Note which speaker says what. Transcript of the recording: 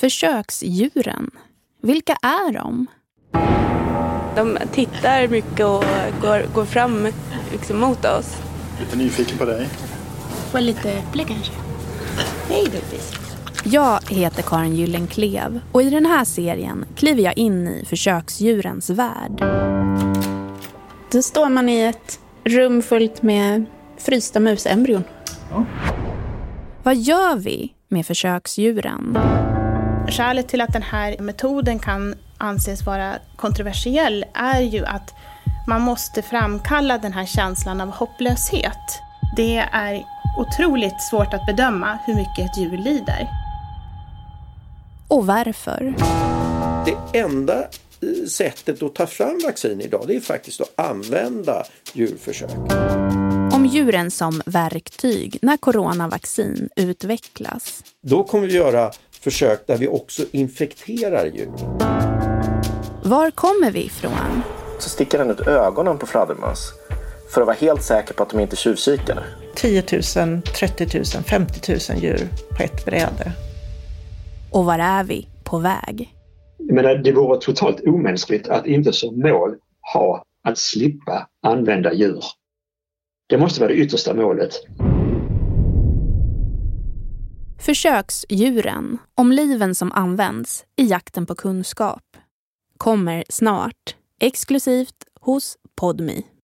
Speaker 1: Försöksdjuren, vilka är de?
Speaker 2: De tittar mycket och går, går fram liksom mot oss.
Speaker 3: Lite nyfiken på dig.
Speaker 4: Får lite äpple kanske?
Speaker 2: Hej bebis.
Speaker 1: Jag heter Karin Gyllenklev och i den här serien kliver jag in i försöksdjurens värld.
Speaker 4: Då står man i ett rum fullt med frysta musembryon.
Speaker 1: Vad gör vi med försöksdjuren?
Speaker 5: Skälet till att den här metoden kan anses vara kontroversiell är ju att man måste framkalla den här känslan av hopplöshet. Det är otroligt svårt att bedöma hur mycket ett djur lider.
Speaker 1: Och varför?
Speaker 6: Det enda eh, sättet att ta fram vaccin idag det är faktiskt att använda djurförsök.
Speaker 1: Om djuren som verktyg när coronavaccin utvecklas.
Speaker 6: Då kommer vi göra försök där vi också infekterar djur.
Speaker 1: Var kommer vi ifrån?
Speaker 7: så sticker den ut ögonen på fladdermöss för att vara helt säker på att de inte tjuvkikade.
Speaker 8: 10 000, 30 000, 50 000 djur på ett bräde.
Speaker 1: Och var är vi på väg?
Speaker 9: Jag menar, det vore totalt omänskligt att inte som mål ha att slippa använda djur. Det måste vara det yttersta målet.
Speaker 1: Försöksdjuren, om liven som används i jakten på kunskap. Kommer snart, exklusivt hos Podmi.